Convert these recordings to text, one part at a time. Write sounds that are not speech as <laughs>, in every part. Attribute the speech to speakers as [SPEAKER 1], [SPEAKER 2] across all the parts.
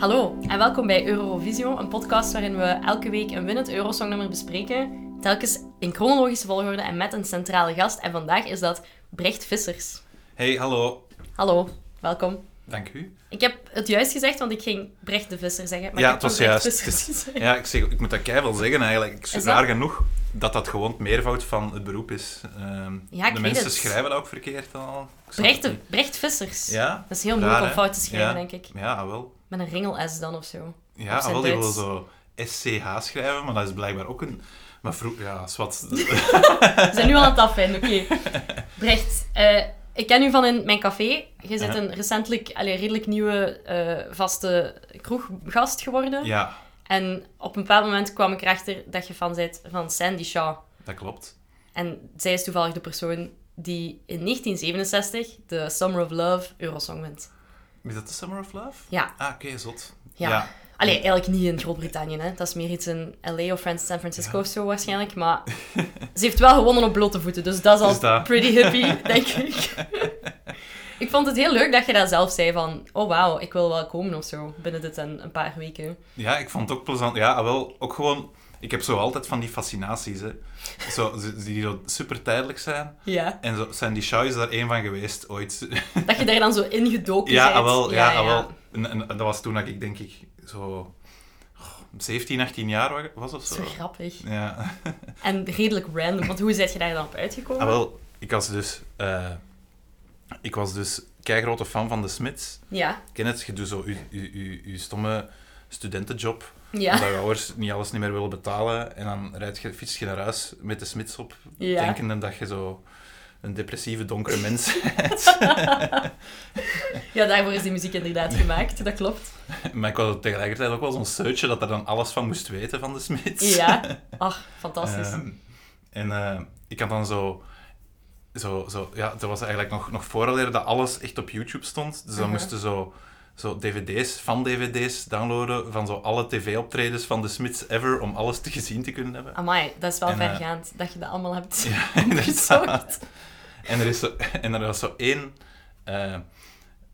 [SPEAKER 1] Hallo en welkom bij Eurovisio, een podcast waarin we elke week een winnend Eurosongnummer bespreken, telkens in chronologische volgorde en met een centrale gast. En vandaag is dat Brecht Vissers.
[SPEAKER 2] Hey, hallo.
[SPEAKER 1] Hallo, welkom.
[SPEAKER 2] Dank u.
[SPEAKER 1] Ik heb het juist gezegd, want ik ging Brecht de Visser zeggen, maar
[SPEAKER 2] Ja,
[SPEAKER 1] ik heb
[SPEAKER 2] het was
[SPEAKER 1] gewoon Brecht
[SPEAKER 2] juist.
[SPEAKER 1] Vissers gezegd.
[SPEAKER 2] Ja, ik, zeg, ik moet dat keihard zeggen eigenlijk. Ik
[SPEAKER 1] Is
[SPEAKER 2] is
[SPEAKER 1] dat-
[SPEAKER 2] raar genoeg dat dat gewoon het meervoud van het beroep is. Ehm,
[SPEAKER 1] Ja, ik weet
[SPEAKER 2] de mensen
[SPEAKER 1] het.
[SPEAKER 2] schrijven dat ook verkeerd al. Ik snap
[SPEAKER 1] Brecht,
[SPEAKER 2] het
[SPEAKER 1] de-
[SPEAKER 2] niet.
[SPEAKER 1] Brecht Vissers.
[SPEAKER 2] Ja?
[SPEAKER 1] Dat is heel moeilijk
[SPEAKER 2] Raar,
[SPEAKER 1] om
[SPEAKER 2] hè?
[SPEAKER 1] fout te schrijven,
[SPEAKER 2] Ja.
[SPEAKER 1] denk ik.
[SPEAKER 2] Ja, ah, wel.
[SPEAKER 1] Met een ringel-S dan of zo.
[SPEAKER 2] Ja,
[SPEAKER 1] Op
[SPEAKER 2] ah,
[SPEAKER 1] zijn
[SPEAKER 2] wel. Die willen
[SPEAKER 1] Duits.
[SPEAKER 2] zo SCH schrijven, maar dat is blijkbaar ook een... Maar vroeger... Ja,
[SPEAKER 1] <laughs>
[SPEAKER 2] is wat...
[SPEAKER 1] We zijn nu al aan het afvinden, oké.
[SPEAKER 2] <laughs>
[SPEAKER 1] Brecht, eh, ik ken u van in mijn café. Je bent
[SPEAKER 2] Ja.
[SPEAKER 1] een recentelijk, allee, redelijk nieuwe eh, vaste kroeggast geworden.
[SPEAKER 2] ja,
[SPEAKER 1] En op een bepaald moment kwam ik erachter dat je fan bent van Sandy Shaw.
[SPEAKER 2] dat klopt.
[SPEAKER 1] En zij is toevallig de persoon die in 1967 de Summer of Love Eurosong wint.
[SPEAKER 2] Is dat de Summer of Love?
[SPEAKER 1] Ja.
[SPEAKER 2] Ah, oké, zot.
[SPEAKER 1] Ja. Allee, eigenlijk niet in Groot-Brittannië, hè. Dat is meer iets in L.A. of Fran- San Francisco
[SPEAKER 2] Ja.
[SPEAKER 1] of zo waarschijnlijk. Maar ze heeft wel gewonnen op blote voeten, dus dat is al
[SPEAKER 2] Dus dat.
[SPEAKER 1] pretty hippie, denk ik. ik vond het heel leuk dat je dat zelf zei van... Oh, wauw, ik wil wel komen of zo, binnen dit en een paar weken.
[SPEAKER 2] Ja, ik vond het ook plezant. Ja, ah, wel, ook gewoon... Ik heb zo altijd van die fascinaties, hè. Zo, die die zo super tijdelijk zijn.
[SPEAKER 1] Ja.
[SPEAKER 2] En zo, Sandy Shaw is daar één van geweest ooit.
[SPEAKER 1] Dat je daar dan zo ingedoken
[SPEAKER 2] ja,
[SPEAKER 1] bent.
[SPEAKER 2] ah, wel, ja, ah, wel. En, en- en dat was toen dat ik denk ik zo goh, 17, 18 jaar wa- was of
[SPEAKER 1] Zo
[SPEAKER 2] zo.
[SPEAKER 1] grappig.
[SPEAKER 2] Ja,
[SPEAKER 1] En redelijk random, want hoe ben je daar dan op uitgekomen?
[SPEAKER 2] ah, wel. Ik was dus, eh ik was dus keigrote fan van de Smits.
[SPEAKER 1] Ja,
[SPEAKER 2] Ken het? Je doet zo je, je, je, je stomme studentenjob.
[SPEAKER 1] ja,
[SPEAKER 2] Omdat je ouders niet alles niet meer willen betalen. En dan rijd je, fiets je naar huis met de Smits op.
[SPEAKER 1] Ja.
[SPEAKER 2] Denkende dat je zo een depressieve, donkere mens
[SPEAKER 1] ja, daarvoor is die muziek inderdaad gemaakt, dat klopt.
[SPEAKER 2] Maar ik was tegelijkertijd ook wel zo'n seutje dat er dan alles van moest weten van de smid.
[SPEAKER 1] Ja, ach, fantastisch.
[SPEAKER 2] Ehm, en eh, ik had dan zo... zo, zo ja, dat was eigenlijk nog, nog vooraleer dat alles echt op YouTube stond. Dus dan
[SPEAKER 1] Mhm.
[SPEAKER 2] moesten zo, zo dvd's, van dvd's downloaden van zo alle tv-optredens van de Smits ever, om alles te gezien te kunnen hebben.
[SPEAKER 1] Amai, dat is wel
[SPEAKER 2] En, eh,
[SPEAKER 1] vergaand dat je dat allemaal hebt <laughs>
[SPEAKER 2] <laughs> inderdaad.
[SPEAKER 1] opgezocht.
[SPEAKER 2] En er, is zo, en er was zo één... eh,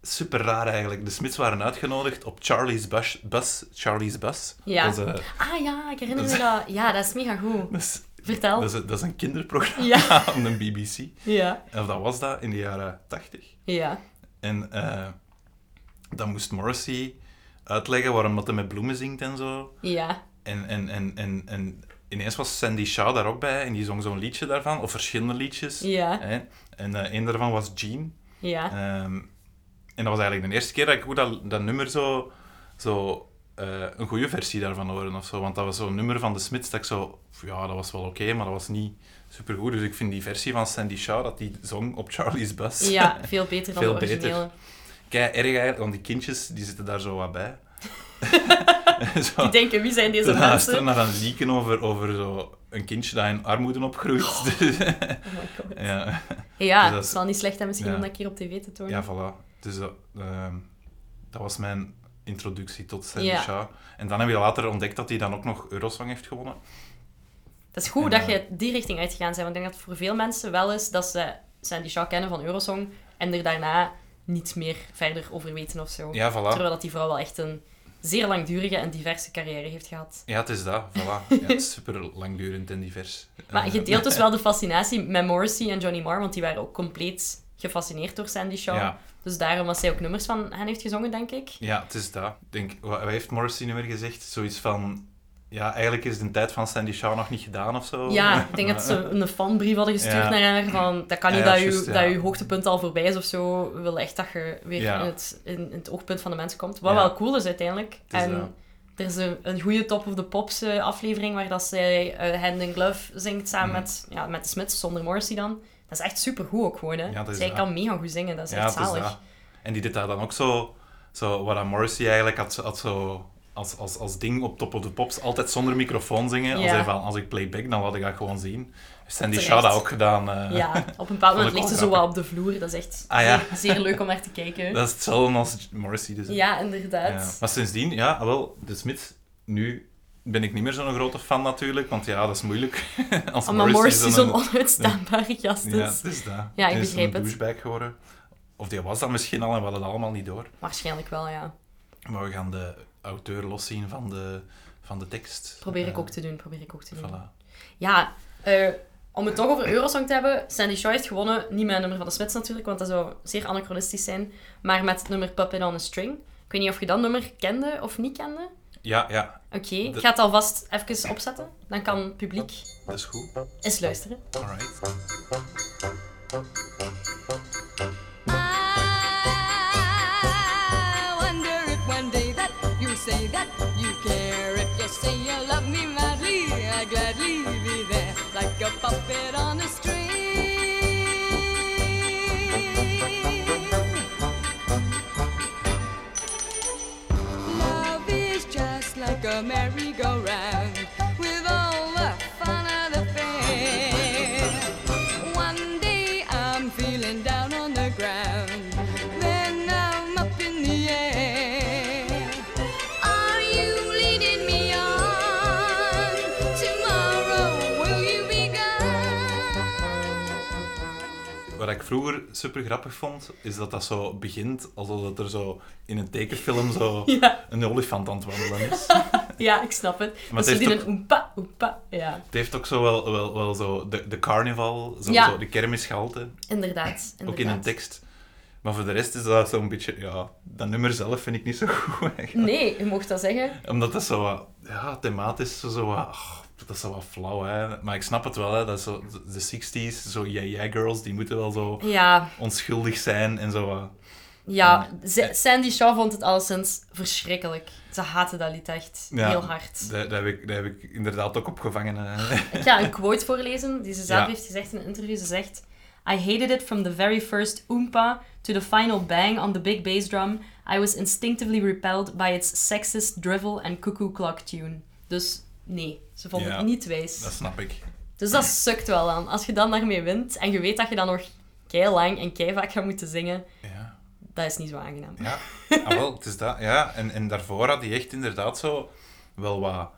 [SPEAKER 2] super raar eigenlijk. De Smits waren uitgenodigd op Charlie's Bus. bus Charlie's Bus.
[SPEAKER 1] Ja.
[SPEAKER 2] Dat is, eh, dus
[SPEAKER 1] Ah ja, ik herinner
[SPEAKER 2] Dat
[SPEAKER 1] me
[SPEAKER 2] is-
[SPEAKER 1] dat. Ja, dat is mega goed.
[SPEAKER 2] dat is-
[SPEAKER 1] Vertel.
[SPEAKER 2] Dat is, dat is een kinderprogramma
[SPEAKER 1] Ja.
[SPEAKER 2] <laughs> van de BBC.
[SPEAKER 1] Ja,
[SPEAKER 2] Of dat was dat in de jaren 80.
[SPEAKER 1] ja.
[SPEAKER 2] En eh, dan moest Morrissey uitleggen waarom dat hij met bloemen zingt en zo.
[SPEAKER 1] Ja,
[SPEAKER 2] En, en, en, en, en ineens was Sandy Shaw daar ook bij en die zong zo'n liedje daarvan, of verschillende liedjes.
[SPEAKER 1] ja,
[SPEAKER 2] Hè? En eh een daarvan was Jean.
[SPEAKER 1] ja.
[SPEAKER 2] Ehm, en dat was eigenlijk de eerste keer dat ik ook dat, dat nummer zo, zo eh, een goede versie daarvan hoorde of zo. Want dat was zo'n nummer van de Smits dat ik zo, ja, dat was wel oké, maar dat was niet supergoed. Dus ik vind die versie van Sandy Shaw, dat die zong op Charlie's Bus,
[SPEAKER 1] Ja, veel beter dan
[SPEAKER 2] Dus- Veel
[SPEAKER 1] de
[SPEAKER 2] beter.
[SPEAKER 1] originele.
[SPEAKER 2] <laughs> kei erg eigenlijk, want die kindjes die zitten daar zo
[SPEAKER 1] <laughs>
[SPEAKER 2] wat bij. zo,
[SPEAKER 1] Die denken, wie zijn deze
[SPEAKER 2] te luisteren
[SPEAKER 1] mensen?
[SPEAKER 2] naar een lieken over, over zo een kindje dat in armoede opgroeit. Dus,
[SPEAKER 1] Oh my god.
[SPEAKER 2] <laughs> ja,
[SPEAKER 1] Ja, dat
[SPEAKER 2] Dus dat
[SPEAKER 1] is
[SPEAKER 2] is-
[SPEAKER 1] wel niet slecht hè, misschien
[SPEAKER 2] ja.
[SPEAKER 1] om dat keer op tv te tonen.
[SPEAKER 2] ja, voilà. Dus dat, ehm, dat was mijn introductie tot Sandy
[SPEAKER 1] Ja.
[SPEAKER 2] Shaw. En dan heb je later ontdekt dat hij dan ook nog Eurosong heeft gewonnen.
[SPEAKER 1] Oh, Dat is goed
[SPEAKER 2] En,
[SPEAKER 1] dat
[SPEAKER 2] eh,
[SPEAKER 1] je die richting uitgegaan bent, want ik denk dat het voor veel mensen wel is dat ze Sandy Shaw kennen van Eurosong en er daarna niet meer verder over weten of zo.
[SPEAKER 2] Ja, voilà.
[SPEAKER 1] Terwijl dat die vrouw wel echt een zeer langdurige en diverse carrière heeft gehad.
[SPEAKER 2] Ja, het is dat. Voilà.
[SPEAKER 1] <laughs>
[SPEAKER 2] Ja, het is super langdurend en divers.
[SPEAKER 1] Maar
[SPEAKER 2] Eh,
[SPEAKER 1] je deelt dus wel de fascinatie met Morrissey en Johnny Marr, want die waren ook compleet gefascineerd door Sandy Shaw.
[SPEAKER 2] Ja,
[SPEAKER 1] Dus daarom dat zij ook nummers van hen heeft gezongen, denk ik.
[SPEAKER 2] ja, het is dat. Ik Denk, wat wat heeft Morrissey nu weer gezegd? Zoiets van... Ja, eigenlijk is de tijd van Sandy Shaw nog niet gedaan of zo. <laughs>
[SPEAKER 1] Ja, ik denk dat ze een fanbrief hadden gestuurd
[SPEAKER 2] Oh. Ja.
[SPEAKER 1] naar haar van dat kan niet
[SPEAKER 2] Ja,
[SPEAKER 1] dat,
[SPEAKER 2] juist,
[SPEAKER 1] je,
[SPEAKER 2] ja.
[SPEAKER 1] dat je hoogtepunt al voorbij is of zo. We willen echt dat je weer
[SPEAKER 2] Ja.
[SPEAKER 1] in, het, in, in het oogpunt van de mensen komt. Wat
[SPEAKER 2] Ja.
[SPEAKER 1] wel cool is uiteindelijk.
[SPEAKER 2] is
[SPEAKER 1] en
[SPEAKER 2] dat.
[SPEAKER 1] er is een, een goede Top of the Pops eh, aflevering waar dat zij eh, Hand in Glove zingt samen
[SPEAKER 2] Mhm.
[SPEAKER 1] met, ja, met de Smits, zonder Morrissey dan. Dat is echt supergoed ook gewoon. Hè.
[SPEAKER 2] Ja, dat is
[SPEAKER 1] zij
[SPEAKER 2] dat.
[SPEAKER 1] kan mega goed zingen, dat is echt
[SPEAKER 2] het is
[SPEAKER 1] zalig.
[SPEAKER 2] dat. En die deed daar dan ook zo... zo wat aan Morrissey eigenlijk had, had zo... Als, als, als ding op Top of the Pops altijd zonder microfoon zingen. Als,
[SPEAKER 1] Ja.
[SPEAKER 2] hij van, als ik playback, dan laat ik dat gewoon zien. Heeft Sandy
[SPEAKER 1] Terecht.
[SPEAKER 2] Shaw dat ook gedaan. eh,
[SPEAKER 1] Ja,
[SPEAKER 2] <laughs>
[SPEAKER 1] op een bepaald moment
[SPEAKER 2] ik
[SPEAKER 1] ligt
[SPEAKER 2] wel
[SPEAKER 1] ze zo
[SPEAKER 2] grappig.
[SPEAKER 1] wat op de vloer. Dat is echt
[SPEAKER 2] Ah, ja.
[SPEAKER 1] zeer, zeer leuk om naar te kijken.
[SPEAKER 2] Dat is hetzelfde als Morrissey dus. hè.
[SPEAKER 1] Ja,
[SPEAKER 2] Ja.
[SPEAKER 1] inderdaad.
[SPEAKER 2] Maar sindsdien, ja, ah, wel, de Smit, nu ben ik niet meer zo'n grote fan natuurlijk, want ja, dat is moeilijk. <laughs> Als
[SPEAKER 1] Omdat Ah, Morrissey zo'n
[SPEAKER 2] een-
[SPEAKER 1] onuitstaanbare gast is.
[SPEAKER 2] Ja, het is dat.
[SPEAKER 1] dus- Ja, ik
[SPEAKER 2] Die is
[SPEAKER 1] begrijp
[SPEAKER 2] een
[SPEAKER 1] het.
[SPEAKER 2] douchebag geworden. Of die was dat misschien al en we hadden dat allemaal niet door.
[SPEAKER 1] Waarschijnlijk wel, ja.
[SPEAKER 2] Maar we gaan de auteur loszien van de, van de tekst.
[SPEAKER 1] Probeer ik
[SPEAKER 2] Eh,
[SPEAKER 1] ook te doen, probeer ik ook te doen.
[SPEAKER 2] Voilà.
[SPEAKER 1] Ja, eh, om het toch over Eurosong te hebben. Sandy Shaw heeft gewonnen. Niet met het nummer van de Smits natuurlijk, want dat zou zeer anachronistisch zijn. Maar met het nummer Puppet on a String. Ik weet niet of je dat nummer kende of niet kende.
[SPEAKER 2] Ja, ja,
[SPEAKER 1] Oké, ik
[SPEAKER 2] Dat-
[SPEAKER 1] ga het alvast even opzetten. Dan kan het publiek
[SPEAKER 2] dat is goed.
[SPEAKER 1] eens luisteren.
[SPEAKER 2] Alright.
[SPEAKER 3] I wonder if one day that you say that you care. If you say you love me madly, I gladly be there like a puppet on a string. Love is just like a merry-go-round with all the fun of the fair. One day I'm feeling down on the ground, then I'm up in the air. Are you leading me on? Tomorrow will you be gone?
[SPEAKER 2] Wat ik vroeger super grappig vond, is dat dat zo begint alsof dat er zo in een tekenfilm zo
[SPEAKER 1] <laughs> Ja,
[SPEAKER 2] een olifant aan het
[SPEAKER 1] <laughs>
[SPEAKER 2] wandelen is.
[SPEAKER 1] ja ik snap het.
[SPEAKER 2] Maar
[SPEAKER 1] Maar
[SPEAKER 2] het
[SPEAKER 1] ze
[SPEAKER 2] heeft
[SPEAKER 1] doen
[SPEAKER 2] ook-
[SPEAKER 1] een oempa, oempa. Ja,
[SPEAKER 2] Het heeft ook zo wel, wel, wel zo de, de carnaval, zo,
[SPEAKER 1] Ja.
[SPEAKER 2] zo de kermisgehalte,
[SPEAKER 1] inderdaad. inderdaad.
[SPEAKER 2] ook in een tekst. Maar voor de rest is dat zo'n beetje, ja, dat nummer zelf vind ik niet zo <laughs> goed eigenlijk.
[SPEAKER 1] Nee, je mocht dat zeggen.
[SPEAKER 2] Omdat dat zo wat, ja, thematisch zo, zo wat, ach, dat is zo wat flauw hè. Maar ik snap het wel hè, dat is zo, de 60s, zo yeah yeah girls, die moeten wel zo
[SPEAKER 1] Ja,
[SPEAKER 2] onschuldig zijn en zo wat.
[SPEAKER 1] ja. Z- Sandy Shaw vond het alleszins verschrikkelijk. Ze haatte dat lied echt
[SPEAKER 2] Ja,
[SPEAKER 1] heel hard.
[SPEAKER 2] Dat, dat, heb ik, dat heb ik inderdaad ook opgevangen.
[SPEAKER 1] <laughs>
[SPEAKER 2] hè.
[SPEAKER 1] Ik ga een quote voorlezen die ze zelf
[SPEAKER 2] Ja.
[SPEAKER 1] heeft gezegd in een interview. Ze zegt... I hated it from the very first oompa to the final bang on the big bass drum. I was instinctively repelled by its sexist drivel and cuckoo clock tune. Dus nee, ze vond
[SPEAKER 2] Ja.
[SPEAKER 1] het niet wijs.
[SPEAKER 2] Dat snap ik.
[SPEAKER 1] Dus dat sukt wel aan. Als je dan daarmee wint en je weet dat je dan nog kei lang en kei vaak gaat moeten zingen,
[SPEAKER 2] Ja.
[SPEAKER 1] dat is niet zo aangenaam.
[SPEAKER 2] Ja, ah, wel, het is dat. Ja, en, en daarvoor had hij echt inderdaad zo wel wat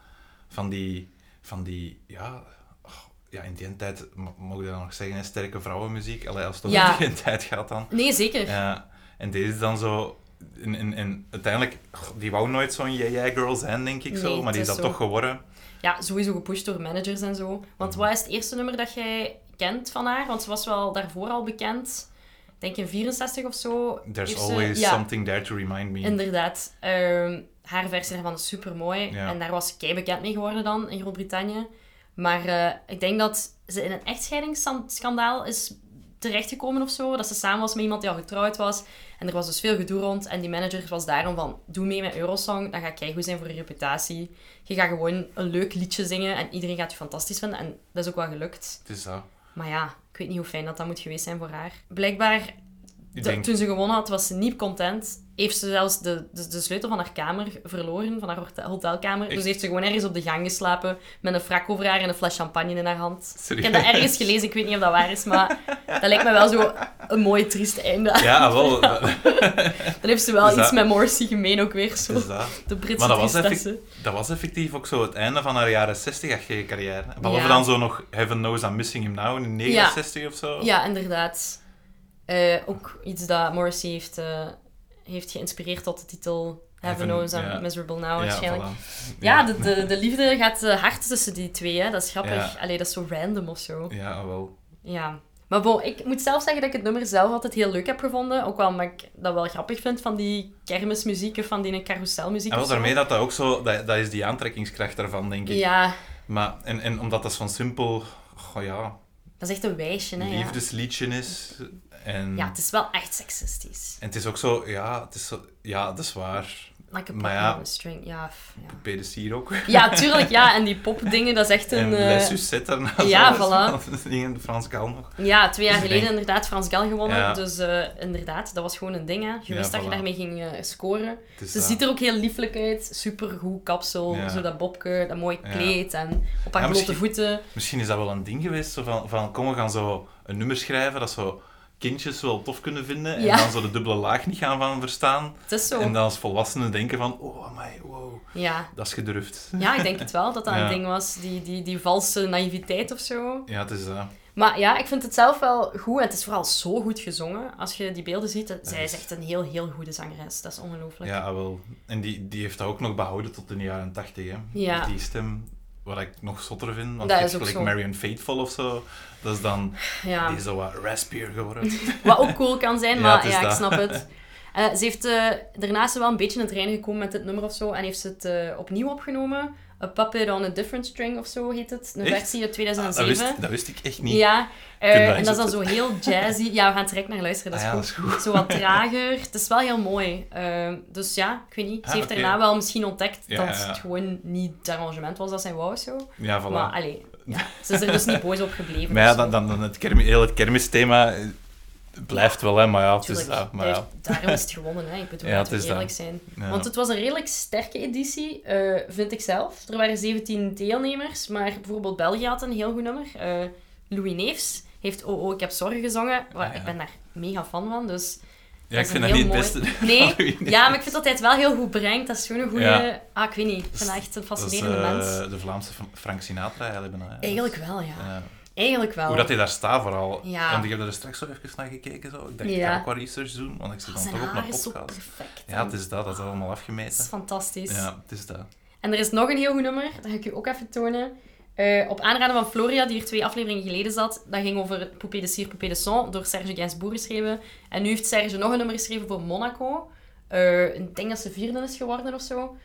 [SPEAKER 2] van die, van die ja, oh, ja, in die tijd, mo- mogen we dat nog zeggen, hè, sterke vrouwenmuziek. Allee, als het over
[SPEAKER 1] Ja.
[SPEAKER 2] die tijd gaat dan.
[SPEAKER 1] Nee, zeker.
[SPEAKER 2] Ja, en deze is dan zo... En, en, en uiteindelijk, goh, die wou nooit zo'n yeah, yeah girl zijn, denk ik zo,
[SPEAKER 1] Nee,
[SPEAKER 2] maar die is
[SPEAKER 1] het
[SPEAKER 2] dat
[SPEAKER 1] is zo.
[SPEAKER 2] toch geworden.
[SPEAKER 1] Ja, sowieso gepusht door managers en zo. Want
[SPEAKER 2] Mhm.
[SPEAKER 1] wat is het eerste nummer dat jij kent van haar? Want ze was wel daarvoor al bekend. Ik denk in 64 of zo.
[SPEAKER 2] There's
[SPEAKER 1] heeft ze-
[SPEAKER 2] always
[SPEAKER 1] ja,
[SPEAKER 2] something there to remind me.
[SPEAKER 1] Inderdaad. Ehm, haar versie daarvan is supermooi.
[SPEAKER 2] Ja.
[SPEAKER 1] En daar was ze kei bekend mee geworden dan in Groot-Brittannië. Maar eh, ik denk dat ze in een echtscheidingsschandaal is terechtgekomen of zo. Dat ze samen was met iemand die al getrouwd was. En er was dus veel gedoe rond. En die manager was daarom van, doe mee met Eurosong. Dan gaat goed zijn voor je reputatie. Je gaat gewoon een leuk liedje zingen en iedereen gaat je fantastisch vinden. En dat is ook wel gelukt.
[SPEAKER 2] Het is dat.
[SPEAKER 1] Maar ja, ik weet niet hoe fijn dat dat moet geweest zijn voor haar. Blijkbaar
[SPEAKER 2] Ik
[SPEAKER 1] de-
[SPEAKER 2] denk,
[SPEAKER 1] toen ze gewonnen had, was ze niet content. Heeft ze zelfs de, de, de sleutel van haar kamer verloren, van haar hotel- hotelkamer.
[SPEAKER 2] Echt?
[SPEAKER 1] Dus heeft ze gewoon ergens op de gang geslapen, met een frak over haar en een fles champagne in haar hand.
[SPEAKER 2] Serieus? <laughs>
[SPEAKER 1] Ik heb dat ergens gelezen, ik weet niet of dat waar is, maar dat lijkt me wel zo een mooi, triest einde.
[SPEAKER 2] ja,
[SPEAKER 1] <laughs>
[SPEAKER 2] ah, wel, dat,
[SPEAKER 1] Dan heeft ze wel
[SPEAKER 2] Dus dat-
[SPEAKER 1] iets met Morrissey gemeen ook weer, zo.
[SPEAKER 2] het is dat.
[SPEAKER 1] De Britse
[SPEAKER 2] Maar dat was,
[SPEAKER 1] tristesse.
[SPEAKER 2] effectief, dat was effectief ook zo het einde van haar jaren 60 carrière. Behalve
[SPEAKER 1] Ja.
[SPEAKER 2] dan zo nog Heaven Knows I'm Missing Him Now in 69 of zo.
[SPEAKER 1] Ja, inderdaad. Eh, ook iets dat Morrissey heeft, eh, heeft geïnspireerd tot de titel Heaven
[SPEAKER 2] Heaven,
[SPEAKER 1] Knows I'm
[SPEAKER 2] ja.
[SPEAKER 1] Miserable Now,
[SPEAKER 2] Ja,
[SPEAKER 1] waarschijnlijk.
[SPEAKER 2] voilà.
[SPEAKER 1] Ja, de, de, de liefde gaat eh, hard tussen die twee, hè. Dat is grappig.
[SPEAKER 2] Ja.
[SPEAKER 1] Allee, dat is zo random of zo.
[SPEAKER 2] Ja, ah, wel.
[SPEAKER 1] Ja. Maar bon, ik moet zelf zeggen dat ik het nummer zelf altijd heel leuk heb gevonden. Ook wel omdat ik dat wel grappig vind van die kermismuziek of van die carouselmuziek.
[SPEAKER 2] En
[SPEAKER 1] of
[SPEAKER 2] wel
[SPEAKER 1] zo.
[SPEAKER 2] daarmee dat dat ook zo... Dat, dat is die aantrekkingskracht daarvan, denk ik.
[SPEAKER 1] Ja,
[SPEAKER 2] Maar, en, en omdat dat zo'n simpel... Goh ja,
[SPEAKER 1] dat is echt een wijsje, hè. Ja.
[SPEAKER 2] liefdesliedje is. En,
[SPEAKER 1] ja, het is wel echt seksistisch.
[SPEAKER 2] en het is ook zo... Ja, het is zo, ja dat is waar.
[SPEAKER 1] Like a
[SPEAKER 2] Maar
[SPEAKER 1] pop
[SPEAKER 2] ja.
[SPEAKER 1] on a string, ja. f- ja.
[SPEAKER 2] Pedicier ook.
[SPEAKER 1] Ja, tuurlijk, ja. En die popdingen, dat is echt
[SPEAKER 2] En
[SPEAKER 1] een... eh,
[SPEAKER 2] Les Suzette daarna.
[SPEAKER 1] ja,
[SPEAKER 2] zo.
[SPEAKER 1] voilà.
[SPEAKER 2] nou Dat ding in Frans Kaal nog.
[SPEAKER 1] Ja, twee jaar
[SPEAKER 2] Dus ik
[SPEAKER 1] geleden
[SPEAKER 2] denk-
[SPEAKER 1] inderdaad Frans Gal gewonnen.
[SPEAKER 2] Ja.
[SPEAKER 1] Dus eh, inderdaad, dat was gewoon een ding, hè. Je
[SPEAKER 2] Ja,
[SPEAKER 1] wist dat je
[SPEAKER 2] voilà.
[SPEAKER 1] daarmee ging eh, scoren.
[SPEAKER 2] Het is
[SPEAKER 1] Ze
[SPEAKER 2] dat.
[SPEAKER 1] ziet er ook heel lieflijk uit. Supergoed kapsel,
[SPEAKER 2] Ja.
[SPEAKER 1] zo dat bobke, dat mooie
[SPEAKER 2] Ja.
[SPEAKER 1] kleed en op haar blote
[SPEAKER 2] Ja, misschien-
[SPEAKER 1] voeten.
[SPEAKER 2] Misschien is dat wel een ding geweest, zo van, van kom, we gaan zo een nummer schrijven dat zo kindjes wel tof kunnen vinden
[SPEAKER 1] Ja.
[SPEAKER 2] en dan zo de dubbele laag niet gaan van verstaan.
[SPEAKER 1] Het is zo.
[SPEAKER 2] En dan als volwassenen denken van, oh amai, wow,
[SPEAKER 1] Ja.
[SPEAKER 2] dat is gedurfd.
[SPEAKER 1] ja, ik denk het wel dat dat
[SPEAKER 2] Ja.
[SPEAKER 1] een ding was. Die, die, die valse naïviteit of zo.
[SPEAKER 2] Ja, het is eh, dat.
[SPEAKER 1] Maar ja, ik vind het zelf wel goed. En het is vooral zo goed gezongen. Als je die beelden ziet, dat- zij is
[SPEAKER 2] is-
[SPEAKER 1] echt een heel, heel goede zangeres. Dat is ongelooflijk.
[SPEAKER 2] Ja, ah, wel. En die, die heeft dat ook nog behouden tot in de jaren tachtig.
[SPEAKER 1] Ja.
[SPEAKER 2] Die stem, wat ik nog zotter vind. Want
[SPEAKER 1] Dat
[SPEAKER 2] je
[SPEAKER 1] is
[SPEAKER 2] hebt
[SPEAKER 1] ook
[SPEAKER 2] gelijk
[SPEAKER 1] zo. Ah.
[SPEAKER 2] Marion Faithful of zo. Dat is dan,
[SPEAKER 1] Ja.
[SPEAKER 2] die is zo wat raspier
[SPEAKER 1] <laughs>
[SPEAKER 2] geworden.
[SPEAKER 1] Wat ook cool kan zijn,
[SPEAKER 2] Ja, het
[SPEAKER 1] maar
[SPEAKER 2] is
[SPEAKER 1] ja, ik
[SPEAKER 2] dat.
[SPEAKER 1] snap het.
[SPEAKER 2] <laughs>
[SPEAKER 1] Eh, ze heeft eh, daarnaast wel een beetje in het reinen gekomen met dit nummer of zo. En heeft ze het eh, opnieuw opgenomen. A Puppet on a Different String of zo heet het. Een
[SPEAKER 2] Echt?
[SPEAKER 1] versie uit
[SPEAKER 2] Ah,
[SPEAKER 1] 2007.
[SPEAKER 2] dat, wist, dat wist ik echt niet.
[SPEAKER 1] Ja, eh,
[SPEAKER 2] Kunnen we
[SPEAKER 1] en dat is dan zo
[SPEAKER 2] inzetten? <laughs>
[SPEAKER 1] heel jazzy. Ja, we gaan direct naar luisteren, dat is,
[SPEAKER 2] Ah ja,
[SPEAKER 1] goed.
[SPEAKER 2] dat is goed.
[SPEAKER 1] Zo
[SPEAKER 2] <laughs>
[SPEAKER 1] wat trager. Het is wel heel mooi. Eh, dus ja, ik weet niet. Ze
[SPEAKER 2] Ah,
[SPEAKER 1] heeft
[SPEAKER 2] oké.
[SPEAKER 1] daarna wel misschien ontdekt
[SPEAKER 2] Ja,
[SPEAKER 1] dat
[SPEAKER 2] ja, ja.
[SPEAKER 1] het gewoon niet het arrangement was dat zij wou of zo.
[SPEAKER 2] Ja, voilà.
[SPEAKER 1] Maar allee,
[SPEAKER 2] <laughs>
[SPEAKER 1] ja. ze is er dus niet boos op gebleven. dus
[SPEAKER 2] Maar ja,
[SPEAKER 1] of zo.
[SPEAKER 2] dan, dan, dan het kermi- heel het kermisthema eh, blijft wel, hè. Maar ja, het is
[SPEAKER 1] Tuurlijk,
[SPEAKER 2] dat. Maar
[SPEAKER 1] daar-
[SPEAKER 2] ja.
[SPEAKER 1] daarom
[SPEAKER 2] <laughs>
[SPEAKER 1] is het gewonnen. Hè. Ik bedoel,
[SPEAKER 2] Ja,
[SPEAKER 1] laten
[SPEAKER 2] het
[SPEAKER 1] we
[SPEAKER 2] is
[SPEAKER 1] eerlijk
[SPEAKER 2] dat.
[SPEAKER 1] zijn.
[SPEAKER 2] Ja.
[SPEAKER 1] Want het was een redelijk sterke editie, eh, vind ik zelf. Er waren 17 deelnemers, maar bijvoorbeeld België had een heel goed nummer. Eh, Louis Neefs heeft Oh Oh, ik heb zorgen gezongen. Waar-
[SPEAKER 2] Ah, ja.
[SPEAKER 1] Ik ben daar mega fan van, dus...
[SPEAKER 2] ja, ik
[SPEAKER 1] is
[SPEAKER 2] vind
[SPEAKER 1] een
[SPEAKER 2] dat niet
[SPEAKER 1] heel
[SPEAKER 2] het
[SPEAKER 1] mooi-
[SPEAKER 2] beste. <laughs>
[SPEAKER 1] Nee,
[SPEAKER 2] Halloween.
[SPEAKER 1] ja, maar ik vind dat hij het wel heel goed brengt. Dat is gewoon een goede...
[SPEAKER 2] Ja.
[SPEAKER 1] Ah, ik weet niet. Ik vind dat echt een fascinerende
[SPEAKER 2] dat is, eh,
[SPEAKER 1] mens.
[SPEAKER 2] de Vlaamse Fra- Frank Sinatra eigenlijk. bijna, hè.
[SPEAKER 1] Eigenlijk wel, ja.
[SPEAKER 2] Ja.
[SPEAKER 1] Eigenlijk wel.
[SPEAKER 2] Hoe dat hij daar staat vooral.
[SPEAKER 1] Oh. Ja.
[SPEAKER 2] Want ik heb er straks zo even naar gekeken. Zo. Ik dacht, ik
[SPEAKER 1] Ja.
[SPEAKER 2] ga ook wat research doen, want ik zit
[SPEAKER 1] Ah,
[SPEAKER 2] dan
[SPEAKER 1] Zijn
[SPEAKER 2] toch op
[SPEAKER 1] haar
[SPEAKER 2] een
[SPEAKER 1] is zo
[SPEAKER 2] podcast.
[SPEAKER 1] perfect.
[SPEAKER 2] Ja, het is dat. Dat is allemaal
[SPEAKER 1] Dat is
[SPEAKER 2] afgemeten.
[SPEAKER 1] fantastisch.
[SPEAKER 2] Ja, het is dat.
[SPEAKER 1] En er is nog een heel goed nummer, dat ga ik u ook even tonen. Eh, op aanraden van Floria, die hier twee afleveringen geleden zat. Dat ging over Poupée de Cire, Poupée de Son, door Serge Gainsbourg geschreven. En nu heeft Serge nog een nummer geschreven voor Monaco. Eh, ik denk dat ze vierde is geworden of zo.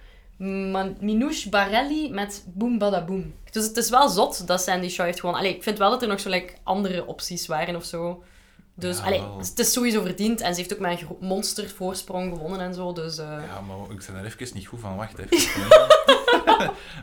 [SPEAKER 1] Maar Minouche Barelli met Boom Bada Boom. Dus het is wel zot dat Sandy Shaw heeft gewonnen. Allee, ik vind wel dat er nog zo like, andere opties waren of zo. Dus
[SPEAKER 2] Ja,
[SPEAKER 1] allee,
[SPEAKER 2] wel.
[SPEAKER 1] het is sowieso verdiend. En ze heeft ook met een gro- monster voorsprong gewonnen en zo. Dus eh,
[SPEAKER 2] Ja, maar ik ben er even niet goed van. Wacht even.
[SPEAKER 1] <laughs>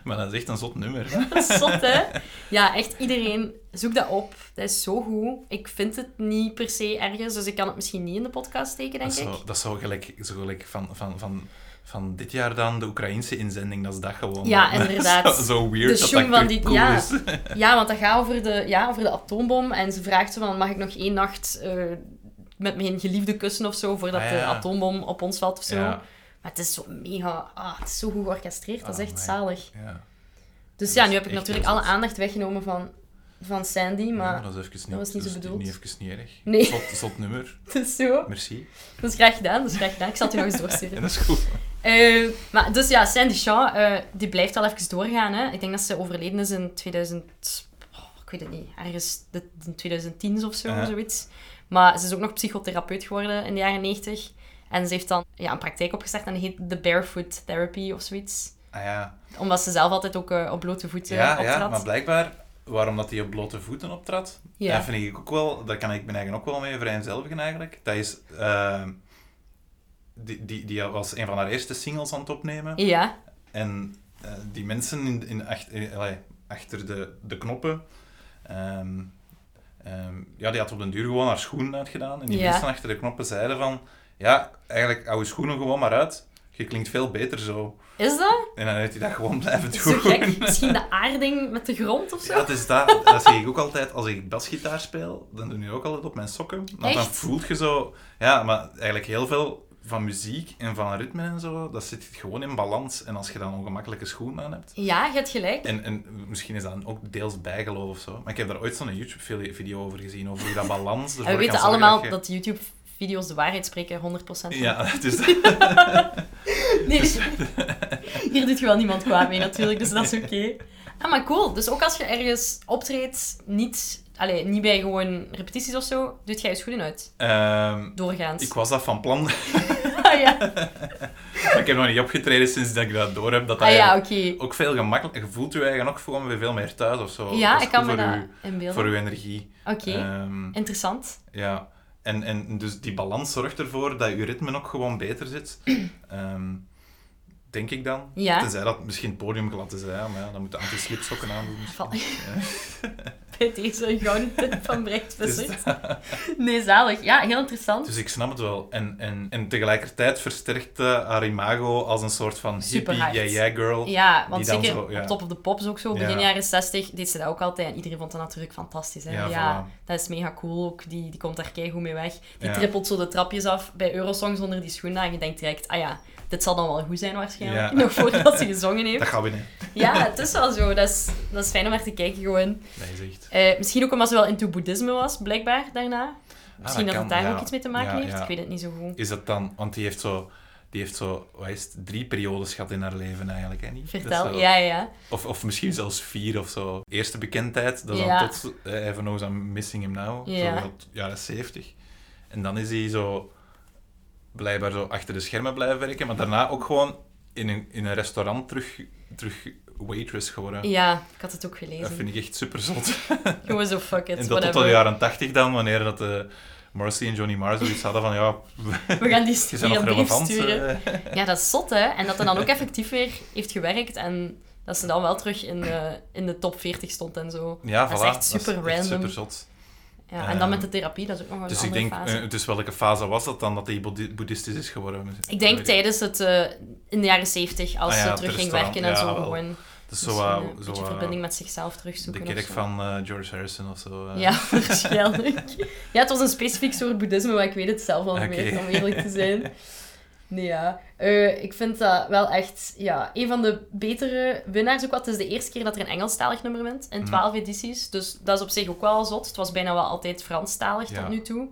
[SPEAKER 2] maar dat is echt een zot nummer. hè.
[SPEAKER 1] Zot, hè? Ja, echt iedereen. Zoek dat op. Dat is zo goed. Ik vind het niet per se ergens, dus ik kan het misschien niet in de podcast steken, denk
[SPEAKER 2] Dat
[SPEAKER 1] ik.
[SPEAKER 2] zou, dat zou gelijk, zo gelijk van, van, van, van dit jaar dan de Oekraïnse inzending, dat is dat gewoon.
[SPEAKER 1] Ja,
[SPEAKER 2] Dat is
[SPEAKER 1] inderdaad.
[SPEAKER 2] <laughs> Zo, zo weird
[SPEAKER 1] De
[SPEAKER 2] dat
[SPEAKER 1] schoen
[SPEAKER 2] dat
[SPEAKER 1] van die-
[SPEAKER 2] terug cool
[SPEAKER 1] ja.
[SPEAKER 2] is.
[SPEAKER 1] Ja, want dat gaat over de, ja, over de atoombom. En ze vraagt ze van, mag ik nog één nacht eh, met mijn geliefde kussen of zo, voordat
[SPEAKER 2] Ah,
[SPEAKER 1] de
[SPEAKER 2] ja.
[SPEAKER 1] atoombom op ons valt of zo.
[SPEAKER 2] Ja,
[SPEAKER 1] Maar het is zo mega... Ah, het is zo goed georchestreerd. Dat is
[SPEAKER 2] Ah,
[SPEAKER 1] echt
[SPEAKER 2] amai.
[SPEAKER 1] zalig.
[SPEAKER 2] ja.
[SPEAKER 1] Dus
[SPEAKER 2] Dat
[SPEAKER 1] ja,
[SPEAKER 2] is
[SPEAKER 1] nu heb ik
[SPEAKER 2] echt
[SPEAKER 1] natuurlijk
[SPEAKER 2] heel
[SPEAKER 1] alle
[SPEAKER 2] zot.
[SPEAKER 1] aandacht weggenomen van, van Sandy,
[SPEAKER 2] Maar
[SPEAKER 1] maar
[SPEAKER 2] dat is even niet,
[SPEAKER 1] was niet zo
[SPEAKER 2] dat is
[SPEAKER 1] bedoeld.
[SPEAKER 2] Niet even niet erg.
[SPEAKER 1] Nee.
[SPEAKER 2] Zot, zot nummer,
[SPEAKER 1] <laughs> het is zo.
[SPEAKER 2] merci.
[SPEAKER 1] Dat is graag gedaan, dat is graag gedaan. Ik zal het u nog
[SPEAKER 2] <laughs>
[SPEAKER 1] eens doorsturen.
[SPEAKER 2] En dat is goed.
[SPEAKER 1] Eh, maar dus ja, Sandy Shaw, eh, die blijft al even doorgaan. Hè. Ik denk dat ze overleden is in 2000... oh, ik weet het niet. Ergens de, de 2010 of zo,
[SPEAKER 2] Ja.
[SPEAKER 1] zoiets. Maar ze is ook nog psychotherapeut geworden in de jaren 90. En ze heeft dan ja, een praktijk opgestart en die heet de Barefoot Therapy of zoiets.
[SPEAKER 2] Ah ja,
[SPEAKER 1] Omdat ze zelf altijd ook eh, op blote voeten
[SPEAKER 2] ja,
[SPEAKER 1] optrad.
[SPEAKER 2] ja maar blijkbaar, waarom dat hij op blote voeten optrad,
[SPEAKER 1] Ja.
[SPEAKER 2] dat vind ik ook wel, daar kan ik me eigen ook wel mee vereenzelvigen eigenlijk. Dat is, eh, die, die, die was een van haar eerste singles aan het opnemen.
[SPEAKER 1] Ja,
[SPEAKER 2] En eh, die mensen in, in ach- eh, allee, achter de, de knoppen, ehm, ehm, ja, die had op den duur gewoon haar schoenen uitgedaan. En die
[SPEAKER 1] Ja.
[SPEAKER 2] mensen achter de knoppen zeiden van, ja, eigenlijk hou je schoenen gewoon maar uit. Je klinkt veel beter zo.
[SPEAKER 1] is dat?
[SPEAKER 2] <laughs> En dan heeft hij dat gewoon blijven doen.
[SPEAKER 1] Zo gek. Misschien de aarding met de grond of zo?
[SPEAKER 2] Ja, het is dat. Dat zeg ik ook altijd als ik basgitaar speel. Dan doe ik dat ook altijd op mijn sokken. Want dan
[SPEAKER 1] Echt?
[SPEAKER 2] voel je zo... Ja, maar eigenlijk heel veel van muziek en van ritme en zo, dat zit gewoon in balans. En als je dan ongemakkelijke schoenen aan hebt...
[SPEAKER 1] Ja, je hebt gelijk. Eh,
[SPEAKER 2] En, en misschien is dat ook deels bijgeloof of zo. Maar ik heb daar ooit zo'n YouTube-video over gezien, over hoe dat balans...
[SPEAKER 1] En
[SPEAKER 2] ervoor
[SPEAKER 1] we
[SPEAKER 2] kan
[SPEAKER 1] weten
[SPEAKER 2] zorgen
[SPEAKER 1] allemaal
[SPEAKER 2] je-
[SPEAKER 1] dat YouTube-video's de waarheid spreken, 100%. van.
[SPEAKER 2] Ja, het is dat.
[SPEAKER 1] Nee, Dus- <laughs> hier doet je wel niemand kwaad mee natuurlijk, dus dat is oké. Ah, maar cool. Dus ook als je ergens optreedt, niet, allee, niet bij gewoon repetities of zo, doet jij je schoenen uit.
[SPEAKER 2] Ehm,
[SPEAKER 1] Doorgaans.
[SPEAKER 2] ik was dat van plan, <laughs> maar
[SPEAKER 1] <laughs> Ah ja,
[SPEAKER 2] ik heb nog niet opgetreden sinds dat ik dat door heb. Dat dat
[SPEAKER 1] ah, ja
[SPEAKER 2] eigenlijk
[SPEAKER 1] oké.
[SPEAKER 2] ook veel gemakkelijker... Je voelt je eigen ook gewoon weer veel meer thuis of zo. Oh, Dat
[SPEAKER 1] Ja,
[SPEAKER 2] is
[SPEAKER 1] ik kan
[SPEAKER 2] goed
[SPEAKER 1] me
[SPEAKER 2] voor
[SPEAKER 1] dat
[SPEAKER 2] je-
[SPEAKER 1] inbeelden.
[SPEAKER 2] voor uw energie.
[SPEAKER 1] Oké,
[SPEAKER 2] Ehm,
[SPEAKER 1] interessant.
[SPEAKER 2] ja. En, en dus die balans zorgt ervoor dat uw ritme ook gewoon beter
[SPEAKER 1] <clears throat>
[SPEAKER 2] zit. Ehm, denk ik dan.
[SPEAKER 1] Ja.
[SPEAKER 2] Tenzij dat misschien het podium glad is, hè. maar ja, dan moet je anti-slipsokken aandoen. misschien.
[SPEAKER 1] Val-
[SPEAKER 2] Ja.
[SPEAKER 1] <laughs> Bij deze een gouden tip van Brecht
[SPEAKER 2] <laughs> Dus,
[SPEAKER 1] Visser. Nee, zalig. Ja, heel interessant.
[SPEAKER 2] dus ik snap het wel. En, en, en tegelijkertijd versterkt eh, haar imago als een soort van hippie,
[SPEAKER 1] Superhard.
[SPEAKER 2] yeah, yeah girl.
[SPEAKER 1] Ja, want
[SPEAKER 2] die dan
[SPEAKER 1] zeker
[SPEAKER 2] zo, ja.
[SPEAKER 1] op Top of the Pops ook zo, begin
[SPEAKER 2] Ja.
[SPEAKER 1] jaren 60, deed ze dat ook altijd. En iedereen vond dat natuurlijk fantastisch. Hè?
[SPEAKER 2] Ja,
[SPEAKER 1] Ja,
[SPEAKER 2] voilà.
[SPEAKER 1] dat is mega cool ook. Die, die komt daar keigoed mee weg. Die
[SPEAKER 2] Ja.
[SPEAKER 1] trippelt zo de trapjes af bij Eurosongs onder die schoenen. En je denkt direct, ah ja, dit zal dan wel goed zijn waarschijnlijk.
[SPEAKER 2] Ja.
[SPEAKER 1] <laughs> Nog voordat ze gezongen heeft.
[SPEAKER 2] Dat gaat winnen.
[SPEAKER 1] Ja, het is wel zo. Dat is, dat is fijn om naar te kijken gewoon.
[SPEAKER 2] Nee, is echt.
[SPEAKER 1] Eh, misschien ook omdat ze wel into boeddhisme was, blijkbaar, daarna. Misschien dat,
[SPEAKER 2] Ah, kan,
[SPEAKER 1] het daar
[SPEAKER 2] ja.
[SPEAKER 1] ook iets mee te maken
[SPEAKER 2] Ja,
[SPEAKER 1] heeft.
[SPEAKER 2] ja.
[SPEAKER 1] Ik weet het niet zo goed.
[SPEAKER 2] Is dat dan... Want die heeft zo... Die heeft zo, wat is het, drie periodes gehad in haar leven eigenlijk, hè? Niet?
[SPEAKER 1] Vertel. Ja, ja, ja.
[SPEAKER 2] Of, of misschien zelfs vier of zo. Eerste bekendheid, dat is
[SPEAKER 1] Ja.
[SPEAKER 2] dan tot eh, Even Knows I'm Missing Him Now,
[SPEAKER 1] Ja.
[SPEAKER 2] zo tot jaren zeventig. En dan is hij zo blijkbaar zo achter de schermen blijven werken, maar daarna ook gewoon in een, in een restaurant terug, terug waitress geworden.
[SPEAKER 1] Ja, ik had het ook
[SPEAKER 2] Dat
[SPEAKER 1] gelezen.
[SPEAKER 2] vind ik echt super zot.
[SPEAKER 1] Gewoon zo, fuck it,
[SPEAKER 2] en dat tot
[SPEAKER 1] whatever.
[SPEAKER 2] de jaren tachtig dan, wanneer dat de Morrissey en Johnny Mars zoiets hadden van ja, <laughs>
[SPEAKER 1] We gaan die
[SPEAKER 2] je
[SPEAKER 1] die
[SPEAKER 2] bent nog
[SPEAKER 1] een brief
[SPEAKER 2] relevant.
[SPEAKER 1] sturen.
[SPEAKER 2] eh.
[SPEAKER 1] Ja, dat is zot, hè? En dat hij dan ook effectief weer heeft gewerkt en dat ze dan wel terug in de, in de top 40 stond en zo.
[SPEAKER 2] ja,
[SPEAKER 1] Dat is
[SPEAKER 2] voilà.
[SPEAKER 1] echt super random.
[SPEAKER 2] super zot.
[SPEAKER 1] Ja, en dan met de
[SPEAKER 2] Ehm,
[SPEAKER 1] therapie, dat is ook nog wel een
[SPEAKER 2] Dus ik
[SPEAKER 1] andere
[SPEAKER 2] denk,
[SPEAKER 1] fase.
[SPEAKER 2] eh, dus welke fase was dat dan dat hij boeddhi- boeddhistisch is geworden?
[SPEAKER 1] ik denk
[SPEAKER 2] Weet ik.
[SPEAKER 1] tijdens het, eh, in de jaren 70 als
[SPEAKER 2] Ah ja,
[SPEAKER 1] ze
[SPEAKER 2] het
[SPEAKER 1] terug ging
[SPEAKER 2] restaurant,
[SPEAKER 1] werken en
[SPEAKER 2] ja,
[SPEAKER 1] zo,
[SPEAKER 2] wel.
[SPEAKER 1] gewoon
[SPEAKER 2] Dus zo,
[SPEAKER 1] misschien, eh,
[SPEAKER 2] eh,
[SPEAKER 1] een
[SPEAKER 2] zo,
[SPEAKER 1] beetje
[SPEAKER 2] eh,
[SPEAKER 1] verbinding met zichzelf terugzoeken
[SPEAKER 2] de
[SPEAKER 1] of
[SPEAKER 2] kerk
[SPEAKER 1] zo.
[SPEAKER 2] van eh, George Harrison of zo. eh.
[SPEAKER 1] Ja, <laughs> waarschijnlijk. Ja, het was een specifiek soort boeddhisme, maar ik weet het zelf al niet
[SPEAKER 2] Oké.
[SPEAKER 1] meer, om eerlijk te
[SPEAKER 2] <laughs>
[SPEAKER 1] zijn. Nee, ja. Eh, ik vind dat wel echt ja, een van de betere winnaars. Ook wat. Het is de eerste keer dat er een Engelstalig nummer wint, in
[SPEAKER 2] Mhm.
[SPEAKER 1] 12 edities. Dus dat is op zich ook wel zot. Het was bijna wel altijd Franstalig
[SPEAKER 2] Ja.
[SPEAKER 1] tot nu toe.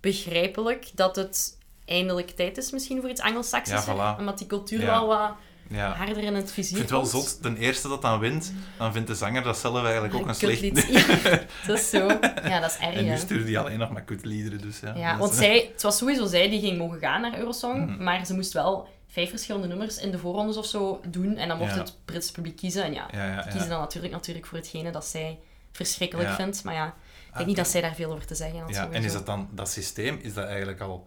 [SPEAKER 1] Begrijpelijk dat het eindelijk tijd is misschien voor iets Angelsaksisch.
[SPEAKER 2] Ja, voilà.
[SPEAKER 1] Omdat die cultuur
[SPEAKER 2] Ja.
[SPEAKER 1] wel wat
[SPEAKER 2] Ja.
[SPEAKER 1] harder in het vizier
[SPEAKER 2] Ik vind het wel
[SPEAKER 1] komt.
[SPEAKER 2] zot, ten eerste dat dan wint, dan vindt de zanger dat zelf eigenlijk ook een slecht
[SPEAKER 1] Kutlied. <laughs> Ja, dat is zo. Ja, dat is erg,
[SPEAKER 2] En
[SPEAKER 1] hè.
[SPEAKER 2] nu stuurde hij alleen nog maar kutliederen, dus ja.
[SPEAKER 1] Ja,
[SPEAKER 2] Dat
[SPEAKER 1] want
[SPEAKER 2] is- Mhm.
[SPEAKER 1] zij, het was sowieso zij die ging mogen gaan naar Eurosong, maar ze moest wel vijf verschillende nummers in de voorrondes of zo doen en dan mocht
[SPEAKER 2] Ja.
[SPEAKER 1] het Britse publiek kiezen. En ja,
[SPEAKER 2] Ja, ja, ja.
[SPEAKER 1] kiezen dan natuurlijk, natuurlijk voor hetgene dat zij verschrikkelijk
[SPEAKER 2] Ja.
[SPEAKER 1] vindt, maar ja, ik denk
[SPEAKER 2] Ah,
[SPEAKER 1] niet dat zij daar veel over te zeggen had.
[SPEAKER 2] Ja, en
[SPEAKER 1] sowieso.
[SPEAKER 2] is dat dan, dat systeem, is dat eigenlijk al...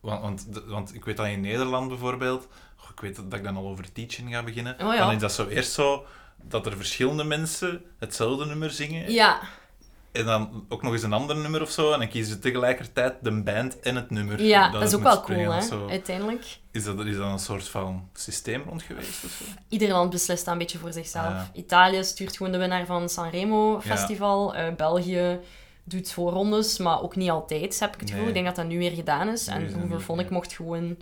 [SPEAKER 2] Want, want, de- want ik weet dat in Nederland bijvoorbeeld, goh, ik weet dat dat ik dan al over teaching ga beginnen,
[SPEAKER 1] Oh ja.
[SPEAKER 2] dan is dat zo eerst zo dat er verschillende mensen hetzelfde nummer zingen,
[SPEAKER 1] Ja,
[SPEAKER 2] <laughs> en dan ook nog eens een ander nummer of zo, en dan kiezen ze tegelijkertijd de band en het nummer.
[SPEAKER 1] ja dat, is ook
[SPEAKER 2] moet
[SPEAKER 1] wel
[SPEAKER 2] springen
[SPEAKER 1] cool,
[SPEAKER 2] of
[SPEAKER 1] hè,
[SPEAKER 2] zo.
[SPEAKER 1] uiteindelijk.
[SPEAKER 2] Is dat, is dat een soort van systeem rond geweest? Of zo?
[SPEAKER 1] Ieder land beslist dat een beetje voor zichzelf.
[SPEAKER 2] Ah, ja.
[SPEAKER 1] Italië stuurt gewoon de winnaar van Sanremo Festival. Eh, België doet voorrondes, maar ook niet altijd, heb ik het
[SPEAKER 2] Nee.
[SPEAKER 1] gevoel. Ik denk dat dat nu weer gedaan is.
[SPEAKER 2] Nu is
[SPEAKER 1] en
[SPEAKER 2] dat
[SPEAKER 1] hoeveel
[SPEAKER 2] niet,
[SPEAKER 1] vond ik
[SPEAKER 2] ja.
[SPEAKER 1] mocht gewoon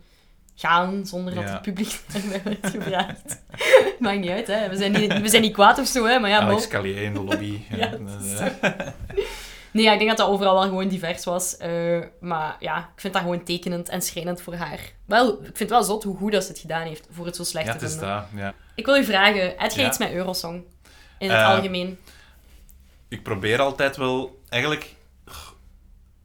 [SPEAKER 1] gaan zonder dat
[SPEAKER 2] Ja.
[SPEAKER 1] het publiek <laughs> erbij werd gevraagd. <laughs> Maakt niet uit, hè. We zijn niet, we zijn niet kwaad of zo, hè. Maar ja,
[SPEAKER 2] Alex
[SPEAKER 1] maar-
[SPEAKER 2] Callier in de lobby.
[SPEAKER 1] <laughs> Ja,
[SPEAKER 2] ja,
[SPEAKER 1] dat is
[SPEAKER 2] eh,
[SPEAKER 1] zo. Nee, ja, ik denk dat dat overal wel gewoon divers was. Eh, maar ja, ik vind dat gewoon tekenend en schrijnend voor haar. Wel, ik vind het wel zot hoe goed dat ze het gedaan heeft voor het zo slecht
[SPEAKER 2] ja,
[SPEAKER 1] te
[SPEAKER 2] het is
[SPEAKER 1] vinden.
[SPEAKER 2] dat. Ja.
[SPEAKER 1] Ik wil u vragen, heb jij
[SPEAKER 2] Ja.
[SPEAKER 1] iets met Eurosong? In het
[SPEAKER 2] Eh,
[SPEAKER 1] algemeen.
[SPEAKER 2] ik probeer altijd wel, eigenlijk g-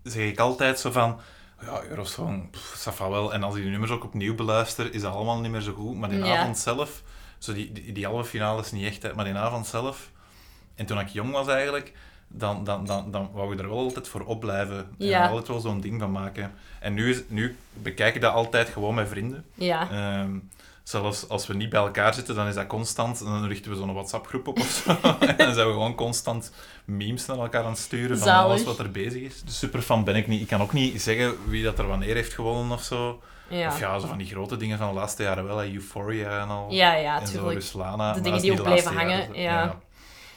[SPEAKER 2] zeg ik altijd zo van, ja, Eurosong, pff, ça va wel. En als ik die nummers ook opnieuw beluister, is dat allemaal niet meer zo goed. Maar die
[SPEAKER 1] Ja.
[SPEAKER 2] avond zelf, zo die, die, die halve finale is niet echt, hè, maar die avond zelf, en toen ik jong was eigenlijk, dan, dan, dan, dan wou ik er wel altijd voor op blijven.
[SPEAKER 1] Ja.
[SPEAKER 2] En er altijd wel zo'n ding van maken. En nu, is- nu bekijk ik dat altijd gewoon met vrienden.
[SPEAKER 1] Ja.
[SPEAKER 2] Ehm, zelfs als we niet bij elkaar zitten, dan is dat constant. En dan richten we zo'n WhatsApp-groep op of zo. <laughs> en dan zijn we gewoon constant memes naar elkaar aan het sturen van
[SPEAKER 1] Zalig.
[SPEAKER 2] alles wat er bezig is. Dus superfan ben ik niet. Ik kan ook niet zeggen wie dat er wanneer heeft gewonnen of zo.
[SPEAKER 1] Ja.
[SPEAKER 2] Of ja, zo van die grote dingen van de laatste jaren wel. hè. Euphoria en al.
[SPEAKER 1] Ja, ja,
[SPEAKER 2] en zo dus-
[SPEAKER 1] tuurlijk.
[SPEAKER 2] Ruslana.
[SPEAKER 1] De
[SPEAKER 2] maar
[SPEAKER 1] dingen
[SPEAKER 2] dat is
[SPEAKER 1] die
[SPEAKER 2] niet
[SPEAKER 1] ook
[SPEAKER 2] de laatste
[SPEAKER 1] blijven
[SPEAKER 2] jaren,
[SPEAKER 1] hangen,
[SPEAKER 2] zo.
[SPEAKER 1] ja.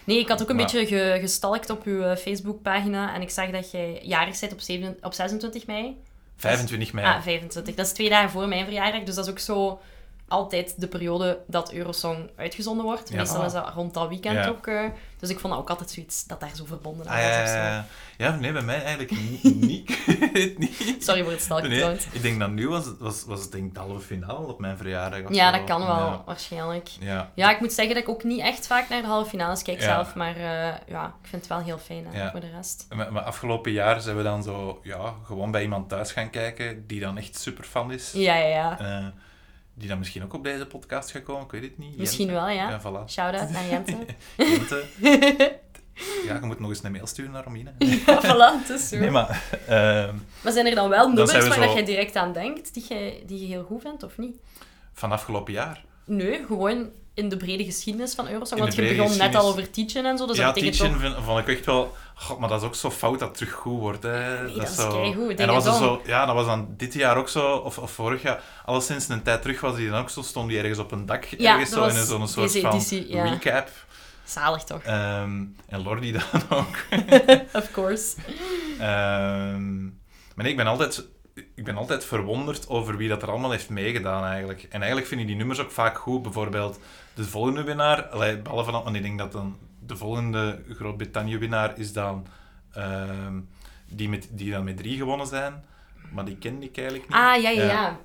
[SPEAKER 1] Nee, ik had ook een
[SPEAKER 2] Maar-
[SPEAKER 1] beetje ge- gestalkt op uw eh, Facebookpagina en ik zag dat jij jarig bent op, zeven- op 26 mei.
[SPEAKER 2] 25 mei.
[SPEAKER 1] Ah, 25. Dat is twee dagen voor mijn verjaardag, dus dat is ook zo altijd de periode dat Eurosong uitgezonden wordt.
[SPEAKER 2] Ja,
[SPEAKER 1] Meestal
[SPEAKER 2] voilà.
[SPEAKER 1] is dat rond dat weekend
[SPEAKER 2] Ja.
[SPEAKER 1] ook. eh, dus ik vond dat ook altijd zoiets dat daar zo verbonden aan
[SPEAKER 2] Ah,
[SPEAKER 1] was.
[SPEAKER 2] ja,
[SPEAKER 1] of
[SPEAKER 2] ja,
[SPEAKER 1] zo.
[SPEAKER 2] ja. Ja, nee, bij mij eigenlijk
[SPEAKER 1] <laughs>
[SPEAKER 2] niet. niet. Ik weet het niet.
[SPEAKER 1] Sorry voor het stalken
[SPEAKER 2] Nee,
[SPEAKER 1] trouwens.
[SPEAKER 2] ik denk dat nu was, was, was het denk ik de halve finale op mijn verjaardag. of
[SPEAKER 1] Ja,
[SPEAKER 2] zo.
[SPEAKER 1] dat kan wel,
[SPEAKER 2] Ja.
[SPEAKER 1] waarschijnlijk.
[SPEAKER 2] Ja,
[SPEAKER 1] Ja, ik moet zeggen dat ik ook niet echt vaak naar de halve finales kijk
[SPEAKER 2] Ja.
[SPEAKER 1] zelf, maar eh, ja, ik vind het wel heel fijn hè,
[SPEAKER 2] Ja.
[SPEAKER 1] voor de rest.
[SPEAKER 2] maar, maar afgelopen jaar zijn we dan zo, ja, gewoon bij iemand thuis gaan kijken die dan echt superfan is.
[SPEAKER 1] Ja, ja, ja.
[SPEAKER 2] Eh, die dan misschien ook op deze podcast gaat komen, ik weet het niet.
[SPEAKER 1] Misschien wel, ja.
[SPEAKER 2] Ja,
[SPEAKER 1] <laughs>
[SPEAKER 2] voilà. <laughs>
[SPEAKER 1] Shout-out naar Jente. <laughs>
[SPEAKER 2] Jente. ja, je moet nog eens een mail sturen naar Romina.
[SPEAKER 1] ja, <laughs> voilà, het is zo.
[SPEAKER 2] Nee, maar... ehm,
[SPEAKER 1] Maar zijn er dan wel nummers
[SPEAKER 2] zijn we
[SPEAKER 1] waar
[SPEAKER 2] zo-
[SPEAKER 1] dat jij direct aan denkt, die je, die je heel goed vindt, of niet?
[SPEAKER 2] van afgelopen jaar.
[SPEAKER 1] Nee, gewoon in de brede geschiedenis van Eurosong,
[SPEAKER 2] In
[SPEAKER 1] want
[SPEAKER 2] de
[SPEAKER 1] je begon
[SPEAKER 2] brede
[SPEAKER 1] net al
[SPEAKER 2] geschiedenis.
[SPEAKER 1] over teachen en zo, dus
[SPEAKER 2] ja,
[SPEAKER 1] dat betekent
[SPEAKER 2] Teachin
[SPEAKER 1] toch...
[SPEAKER 2] vind- vond ik echt wel... God, maar dat is ook zo fout dat het terug goed wordt. Hè.
[SPEAKER 1] Nee, dat is
[SPEAKER 2] zo...
[SPEAKER 1] keigoed,
[SPEAKER 2] En dat was, dan
[SPEAKER 1] dingedong.
[SPEAKER 2] zo, ja, dat was dan dit jaar ook zo, of, of vorig jaar. Alleszins een tijd terug was die dan ook zo, stond die ergens op een dak.
[SPEAKER 1] Ja,
[SPEAKER 2] ergens
[SPEAKER 1] dat
[SPEAKER 2] zo, in
[SPEAKER 1] was
[SPEAKER 2] zo'n soort
[SPEAKER 1] deze
[SPEAKER 2] van
[SPEAKER 1] editie, ja.
[SPEAKER 2] recap.
[SPEAKER 1] Zalig toch,
[SPEAKER 2] Ehm, en Lordi <laughs> dan ook.
[SPEAKER 1] of course.
[SPEAKER 2] Ehm, maar nee, ik ben altijd... Ik ben altijd verwonderd over wie dat er allemaal heeft meegedaan, eigenlijk. En eigenlijk vind ik die nummers ook vaak goed. Bijvoorbeeld de volgende winnaar, allee, behalve dan, want ik denk dat dan de volgende Groot-Brittannië-winnaar is dan... ehm, die, met, die dan met drie gewonnen zijn. Maar die kende ik eigenlijk niet.
[SPEAKER 1] Ah, ja, ja,
[SPEAKER 2] Ja.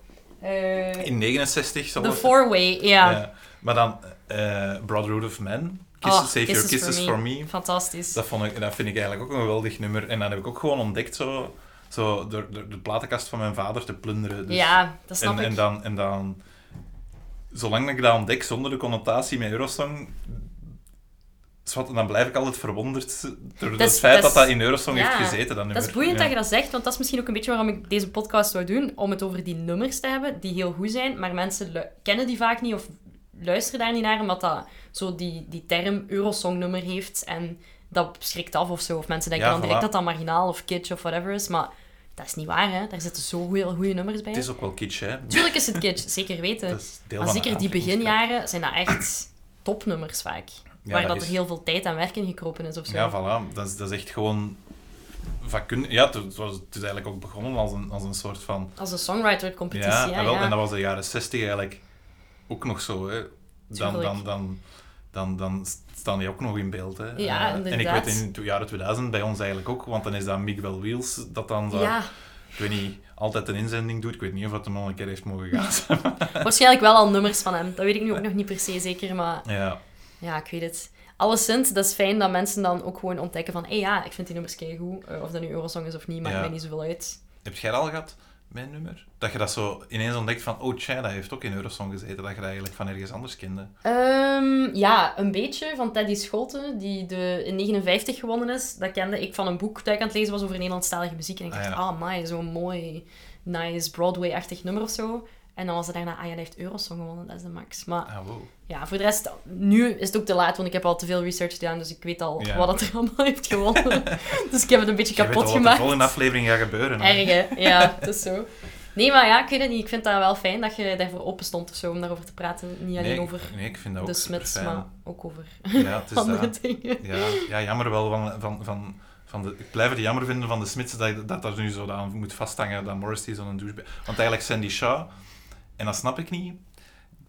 [SPEAKER 1] ja. Eh,
[SPEAKER 2] In 69 zal
[SPEAKER 1] De
[SPEAKER 2] het-
[SPEAKER 1] four-way, ja.
[SPEAKER 2] Ah. Ja. Maar dan eh Brotherhood of Men. Kiss,
[SPEAKER 1] Oh,
[SPEAKER 2] Save Your Kisses for Me.
[SPEAKER 1] Fantastisch.
[SPEAKER 2] Dat, vond ik, dat vind ik eigenlijk ook een geweldig nummer. En dat heb ik ook gewoon ontdekt zo, zo door, door de platenkast van mijn vader te plunderen. Dus-
[SPEAKER 1] ja, dat snap
[SPEAKER 2] en,
[SPEAKER 1] ik.
[SPEAKER 2] en dan, en dan, zolang ik dat ontdek zonder de connotatie met Eurosong, zwart, en dan blijf ik altijd verwonderd door
[SPEAKER 1] Dat
[SPEAKER 2] het
[SPEAKER 1] is-
[SPEAKER 2] feit
[SPEAKER 1] dat
[SPEAKER 2] dat
[SPEAKER 1] is-
[SPEAKER 2] dat in Eurosong
[SPEAKER 1] ja.
[SPEAKER 2] heeft gezeten. Dat, nummer.
[SPEAKER 1] Dat is boeiend
[SPEAKER 2] Ja.
[SPEAKER 1] dat je dat zegt, want dat is misschien ook een beetje waarom ik deze podcast zou doen. Om het over die nummers te hebben, die heel goed zijn, maar mensen lu- kennen die vaak niet of luisteren daar niet naar, omdat dat zo die, die term Eurosong-nummer heeft. En dat schrikt af of zo. Of mensen denken
[SPEAKER 2] Ja,
[SPEAKER 1] dan
[SPEAKER 2] voilà.
[SPEAKER 1] direct dat dat marginaal of kitsch of whatever is, maar dat is niet waar, hè. Daar zitten zo heel goede nummers bij.
[SPEAKER 2] Het is ook wel kitsch, hè?
[SPEAKER 1] Tuurlijk is het kitsch, zeker weten.
[SPEAKER 2] Dat is deel
[SPEAKER 1] Maar
[SPEAKER 2] van de
[SPEAKER 1] zeker die
[SPEAKER 2] aantrekkingskracht.
[SPEAKER 1] beginjaren zijn dat echt topnummers vaak.
[SPEAKER 2] Ja,
[SPEAKER 1] waar
[SPEAKER 2] dat
[SPEAKER 1] dat,
[SPEAKER 2] is-
[SPEAKER 1] er heel veel tijd en werk in gekropen is of zo.
[SPEAKER 2] Ja, voilà. Dat is, dat is echt gewoon... Vakkundig. Ja, het, was, het is eigenlijk ook begonnen als een, als een soort van...
[SPEAKER 1] Als een songwriter-competitie,
[SPEAKER 2] Ja,
[SPEAKER 1] ja,
[SPEAKER 2] en wel,
[SPEAKER 1] ja.
[SPEAKER 2] en dat was de jaren 60 eigenlijk ook nog zo. Hè. Dan, dan,
[SPEAKER 1] Tuurlijk.
[SPEAKER 2] dan, dan, dan staan die ook nog in beeld. Hè.
[SPEAKER 1] Ja,
[SPEAKER 2] Eh, en ik
[SPEAKER 1] inderdaad.
[SPEAKER 2] weet in de jaren 2000 bij ons eigenlijk ook, want dan is dat Miguel Wheels dat dan zo,
[SPEAKER 1] Ja,
[SPEAKER 2] ik weet niet, altijd een inzending doet. Ik weet niet of dat hem al een keer heeft mogen
[SPEAKER 1] <laughs>
[SPEAKER 2] gaan. <laughs>
[SPEAKER 1] waarschijnlijk wel al nummers van hem. Dat weet ik nu ook nog niet per se zeker, maar
[SPEAKER 2] ja,
[SPEAKER 1] ja, ik weet het. Alleszins, dat is fijn dat mensen dan ook gewoon ontdekken van hé hey, ja, ik vind die nummers keigoed. Eh, of dat nu Eurosong is of niet, maakt
[SPEAKER 2] Ja.
[SPEAKER 1] mij niet zoveel uit.
[SPEAKER 2] Heb jij dat al gehad, mijn nummer? Dat je dat zo ineens ontdekt van, oh tja, dat heeft ook in Eurosong gezeten, dat je dat eigenlijk van ergens anders kende.
[SPEAKER 1] Ehm, ja, een beetje van Teddy Scholten, die de, in 59 gewonnen is. Dat kende ik van een boek dat ik aan het lezen was over Nederlandstalige muziek. En ik
[SPEAKER 2] Ah,
[SPEAKER 1] dacht,
[SPEAKER 2] ja.
[SPEAKER 1] ah, my, zo'n mooi, nice, Broadway-achtig nummer of zo. En dan was het daarna, ah ja, dat heeft Eurosong gewonnen, dat is de max. Maar
[SPEAKER 2] Ah, wow.
[SPEAKER 1] Ja, voor de rest, nu is het ook te laat, want ik heb al te veel research gedaan, dus ik weet al
[SPEAKER 2] Ja.
[SPEAKER 1] wat het er allemaal heeft
[SPEAKER 2] <laughs>
[SPEAKER 1] gewonnen. dus ik heb het een beetje
[SPEAKER 2] Je weet
[SPEAKER 1] kapot
[SPEAKER 2] al wat
[SPEAKER 1] gemaakt.
[SPEAKER 2] de volgende aflevering gaat gebeuren. hè?
[SPEAKER 1] Erg, hè? Ja, het is zo. Nee, maar ja, ik weet het niet. Ik vind dat wel fijn dat je daarvoor open stond of zo, om daarover te praten. Niet alleen
[SPEAKER 2] nee,
[SPEAKER 1] over
[SPEAKER 2] ik- nee, ik vind dat ook
[SPEAKER 1] de Smits,
[SPEAKER 2] superfijn.
[SPEAKER 1] maar ook over
[SPEAKER 2] Ja, het
[SPEAKER 1] <laughs>
[SPEAKER 2] is eh,
[SPEAKER 1] andere
[SPEAKER 2] dat. <laughs>
[SPEAKER 1] dingen.
[SPEAKER 2] Ja, ja, jammer wel van... van, van van de, ik blijf het jammer vinden van de Smits dat dat daar nu zo aan moet vasthangen, dat Morris die zo'n douchebag... Want eigenlijk Sandy Shaw, en dat snap ik niet,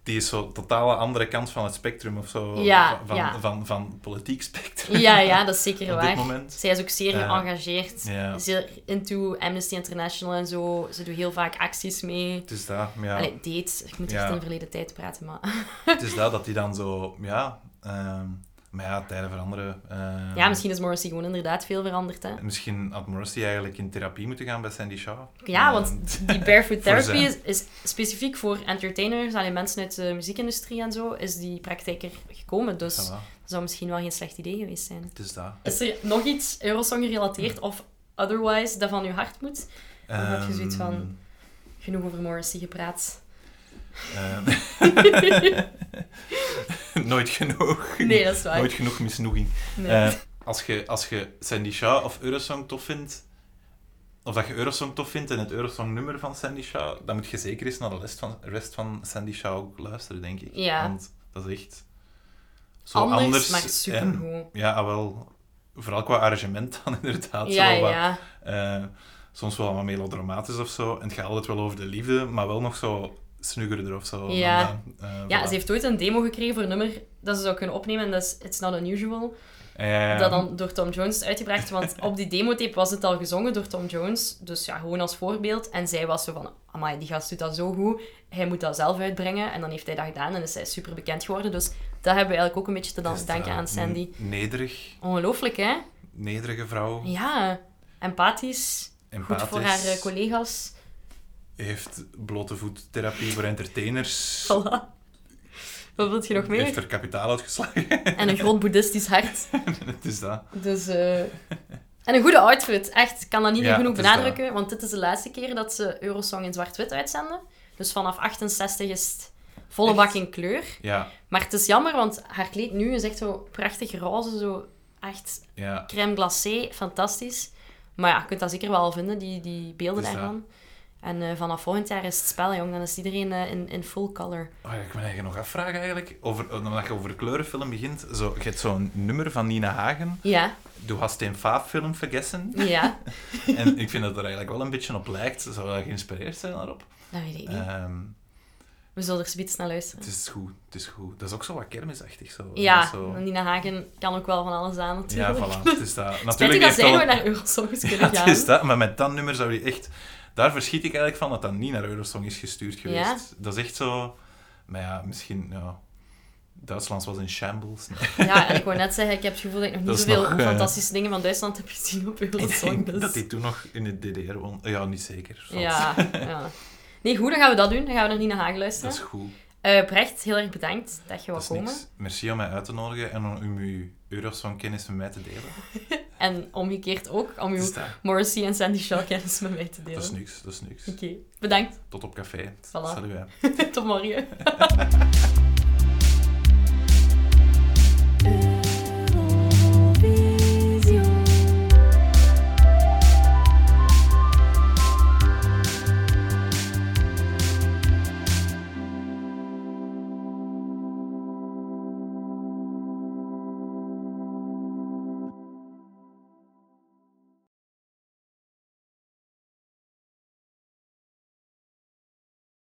[SPEAKER 2] die is zo'n totale andere kant van het spectrum of zo,
[SPEAKER 1] Ja,
[SPEAKER 2] van, van,
[SPEAKER 1] ja.
[SPEAKER 2] Van, van, politiek spectrum.
[SPEAKER 1] Ja, ja, dat is zeker
[SPEAKER 2] Op dit
[SPEAKER 1] waar.
[SPEAKER 2] moment.
[SPEAKER 1] Zij is ook zeer
[SPEAKER 2] Ja.
[SPEAKER 1] geëngageerd.
[SPEAKER 2] Ja.
[SPEAKER 1] Zeer into Amnesty International en zo. Ze doet heel vaak acties mee.
[SPEAKER 2] Het is dat, maar ja.
[SPEAKER 1] Allee, dates. Ik moet
[SPEAKER 2] Ja.
[SPEAKER 1] echt in de verleden tijd praten, maar...
[SPEAKER 2] Het is dat, dat die dan zo... Ja, ehm, maar ja, tijden veranderen. ehm.
[SPEAKER 1] Ja, misschien is Morrissey gewoon inderdaad veel veranderd, hè.
[SPEAKER 2] Misschien had Morrissey eigenlijk in therapie moeten gaan bij Sandy Shaw.
[SPEAKER 1] Ja,
[SPEAKER 2] Ehm,
[SPEAKER 1] want die barefoot therapy
[SPEAKER 2] zijn.
[SPEAKER 1] is, is specifiek voor entertainers, alleen mensen uit de muziekindustrie en zo, is die praktijk er gekomen. Dus dat
[SPEAKER 2] voilà,
[SPEAKER 1] zou misschien wel geen slecht idee geweest zijn.
[SPEAKER 2] het is dat.
[SPEAKER 1] Is er nog iets Eurosong gerelateerd of otherwise dat van uw hart moet? Dan heb je zoiets van-
[SPEAKER 2] Ehm,
[SPEAKER 1] Genoeg over Morrissey gepraat.
[SPEAKER 2] ehm, <laughs> Nooit genoeg.
[SPEAKER 1] Nee, dat is waar.
[SPEAKER 2] Nooit genoeg misnoeging.
[SPEAKER 1] Nee.
[SPEAKER 2] Eh, als, je, als je Sandy Shaw of Eurosong tof vindt, of dat je Eurosong tof vindt en het Eurosong-nummer van Sandy Shaw, dan moet je zeker eens naar de rest van, rest van Sandy Shaw ook luisteren, denk ik.
[SPEAKER 1] Ja.
[SPEAKER 2] Want dat is echt zo
[SPEAKER 1] anders,
[SPEAKER 2] anders.
[SPEAKER 1] maar
[SPEAKER 2] en-
[SPEAKER 1] supergoed.
[SPEAKER 2] ja, ah, wel. Vooral qua arrangement dan <laughs> inderdaad.
[SPEAKER 1] Ja,
[SPEAKER 2] zo wat,
[SPEAKER 1] ja.
[SPEAKER 2] eh, soms wel wat melodramatisch of zo. En het gaat altijd wel over de liefde, maar wel nog zo snuggerder of zo.
[SPEAKER 1] Ja.
[SPEAKER 2] dan dat. Eh,
[SPEAKER 1] Ja,
[SPEAKER 2] voilà.
[SPEAKER 1] ze heeft ooit een demo gekregen voor een nummer dat ze zou kunnen opnemen en dat is It's Not Unusual.
[SPEAKER 2] Ja, Eh, ja, ja.
[SPEAKER 1] Dat dan door Tom Jones is uitgebracht, want op die demotape was het al gezongen door Tom Jones. Dus ja, gewoon als voorbeeld. En zij was zo van, amai, die gast doet dat zo goed. Hij moet dat zelf uitbrengen. En dan heeft hij dat gedaan en is zij super bekend geworden. Dus dat hebben we eigenlijk ook een beetje te
[SPEAKER 2] Het
[SPEAKER 1] dan-
[SPEAKER 2] is,
[SPEAKER 1] danken
[SPEAKER 2] eh,
[SPEAKER 1] aan Sandy.
[SPEAKER 2] n- Nederig,
[SPEAKER 1] Ongelooflijk, hè?
[SPEAKER 2] nederige vrouw.
[SPEAKER 1] Ja, empathisch. Goed voor haar
[SPEAKER 2] Empathisch.
[SPEAKER 1] eh, collega's.
[SPEAKER 2] Heeft blote voettherapie voor
[SPEAKER 1] <laughs>
[SPEAKER 2] entertainers.
[SPEAKER 1] Voilà. Wat wilt je nog
[SPEAKER 2] Heeft
[SPEAKER 1] meer?
[SPEAKER 2] er kapitaal uitgeslagen. <laughs>
[SPEAKER 1] En een groot boeddhistisch hart.
[SPEAKER 2] het is dat.
[SPEAKER 1] Dus, eh, En een goede outfit, echt. Ik kan dat niet
[SPEAKER 2] Ja,
[SPEAKER 1] meer genoeg
[SPEAKER 2] het is dat.
[SPEAKER 1] benadrukken, want dit is de laatste keer dat ze Eurosong in zwart-wit uitzenden. Dus vanaf 68 is het volle
[SPEAKER 2] Echt?
[SPEAKER 1] bak in kleur.
[SPEAKER 2] Ja,
[SPEAKER 1] Maar het is jammer, want haar kleed nu is echt zo prachtig roze, zo echt
[SPEAKER 2] ja.
[SPEAKER 1] crème glacée, fantastisch. Maar ja, je kunt dat zeker wel vinden, die, die beelden
[SPEAKER 2] Het is dat.
[SPEAKER 1] daarvan. En eh, vanaf volgend jaar is het spel, jong. Dan is iedereen eh, in, in full color.
[SPEAKER 2] Oh, ja, ik me eigenlijk nog afvragen eigenlijk. Over, omdat je over kleurenfilm begint. Zo, je hebt zo'n nummer van Nina Hagen.
[SPEAKER 1] Ja,
[SPEAKER 2] Du hast den Faaf-film vergessen.
[SPEAKER 1] <laughs> ja.
[SPEAKER 2] En ik vind dat er eigenlijk wel een beetje op lijkt. Zou dat geïnspireerd zijn daarop?
[SPEAKER 1] dat weet ik niet.
[SPEAKER 2] Ehm,
[SPEAKER 1] We zullen er zoiets naar luisteren.
[SPEAKER 2] Het is goed, het is goed. Dat is ook zo wat kermisachtig. Zo. Dat
[SPEAKER 1] Ja,
[SPEAKER 2] is zo...
[SPEAKER 1] Nina Hagen kan ook wel van alles aan
[SPEAKER 2] Ja,
[SPEAKER 1] <laughs> natuurlijk.
[SPEAKER 2] voilà. Het is dat.
[SPEAKER 1] Spijtig
[SPEAKER 2] Natuurlijk
[SPEAKER 1] dat
[SPEAKER 2] heeft
[SPEAKER 1] zij
[SPEAKER 2] al...
[SPEAKER 1] nooit naar Eurosongs
[SPEAKER 2] <laughs> Ja,
[SPEAKER 1] kunnen
[SPEAKER 2] het
[SPEAKER 1] gaan.
[SPEAKER 2] is dat. Maar met dat nummer zou je echt... Daar verschiet ik eigenlijk van dat dat niet naar Eurosong is gestuurd geweest. Dat is echt zo... Maar ja, misschien... Ja. Duitsland was in
[SPEAKER 1] <laughs>
[SPEAKER 2] shambles. Nee.
[SPEAKER 1] Ja, en ik wou net zeggen, ik heb het gevoel dat ik nog
[SPEAKER 2] Dat
[SPEAKER 1] niet
[SPEAKER 2] is
[SPEAKER 1] zoveel
[SPEAKER 2] nog, eh,
[SPEAKER 1] fantastische dingen van Duitsland heb gezien
[SPEAKER 2] <laughs>
[SPEAKER 1] op
[SPEAKER 2] Ik
[SPEAKER 1] Eurosong.
[SPEAKER 2] denk
[SPEAKER 1] Dus.
[SPEAKER 2] dat hij toen nog in de DDR won. Ja, niet zeker. Zot.
[SPEAKER 1] Ja, ja. Nee, goed, dan gaan we dat doen. Dan gaan we naar Nina Hagen
[SPEAKER 2] Dat
[SPEAKER 1] luisteren.
[SPEAKER 2] is goed.
[SPEAKER 1] Eh, Brecht, heel erg bedankt dat je
[SPEAKER 2] Dat
[SPEAKER 1] wou
[SPEAKER 2] is
[SPEAKER 1] komen.
[SPEAKER 2] niks. Merci om mij uit te nodigen en om om uw Eurosong-kennis met mij te delen.
[SPEAKER 1] En omgekeerd ook om
[SPEAKER 2] Het
[SPEAKER 1] uw
[SPEAKER 2] is dat.
[SPEAKER 1] Morrissey en Sandy Shaw kennis met mij te delen.
[SPEAKER 2] Dat is
[SPEAKER 1] <laughs>
[SPEAKER 2] niks, dat is niks.
[SPEAKER 1] Oké, bedankt. <laughs>
[SPEAKER 2] Tot op café.
[SPEAKER 1] Voilà.
[SPEAKER 2] Salut. hè.
[SPEAKER 1] Tot morgen.